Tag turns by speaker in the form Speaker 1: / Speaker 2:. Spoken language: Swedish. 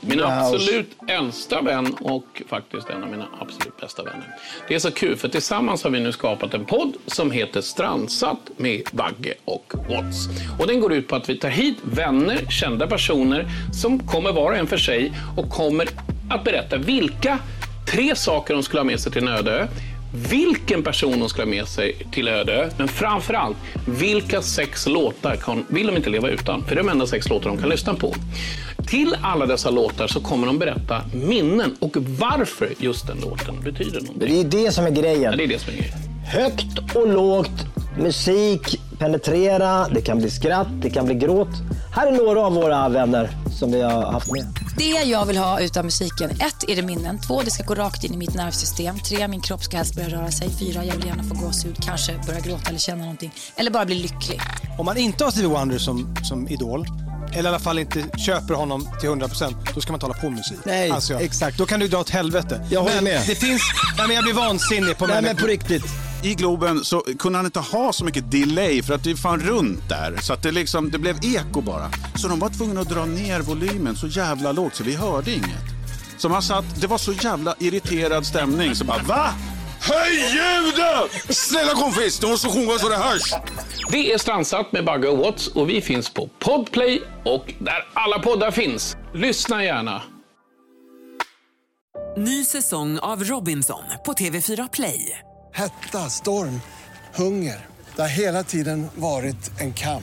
Speaker 1: Min absolut äldsta vän och faktiskt en av mina absolut bästa vänner. Det är så kul för tillsammans har vi nu skapat en podd som heter Strandsatt med Bagge och Watts. Och den går ut på att vi tar hit vänner, kända personer som kommer var och en för sig och kommer att berätta vilka tre saker de skulle ha med sig till en öde ö, vilken person de skulle ha med sig till öde ö, men framför allt vilka sex låtar kan, vill de inte leva utan? För det är de enda sex låtar de kan lyssna på. Till alla dessa låtar så kommer de berätta minnen och varför just den låten betyder någonting.
Speaker 2: Det är det som är
Speaker 1: Ja,
Speaker 2: grejen.
Speaker 1: det är det som är grejen.
Speaker 2: Högt och lågt, musik, penetrera, det kan bli skratt, det kan bli gråt. Här är några av våra vänner som vi har haft med.
Speaker 3: Det jag vill ha utav musiken, ett är det minnen, två det ska gå rakt in i mitt nervsystem, tre min kropp ska helst börja röra sig, fyra jag vill gärna få gåshud, kanske börja gråta eller känna någonting, eller bara bli lycklig.
Speaker 4: Om man inte har Stevie Wonder som, som idol, eller i alla fall inte köper honom till 100%, då ska man tala på musik. Alltså,
Speaker 5: Nej, exakt.
Speaker 4: Då kan du dra åt helvete.
Speaker 5: Jag håller
Speaker 4: men
Speaker 5: med.
Speaker 4: Det finns, nej, men jag blir vansinnig på
Speaker 5: Nej men
Speaker 4: människor.
Speaker 5: på riktigt.
Speaker 6: I Globen så kunde han inte ha så mycket delay för att det är fan runt där. Så att det, liksom, det blev eko bara. Så de var tvungna att dra ner volymen så jävla lågt så vi hörde inget. Så man satt, det var så jävla irriterad stämning så bara VA? Höj ljudet! Snälla kompis, du måste sjunga så det hörs!
Speaker 1: Det är Strandsatt med Bagge och Watts och vi finns på Podplay och där alla poddar finns. Lyssna gärna.
Speaker 7: Ny säsong av Robinson på TV4 Play.
Speaker 8: Hetta, storm, hunger. Det har hela tiden varit en kamp.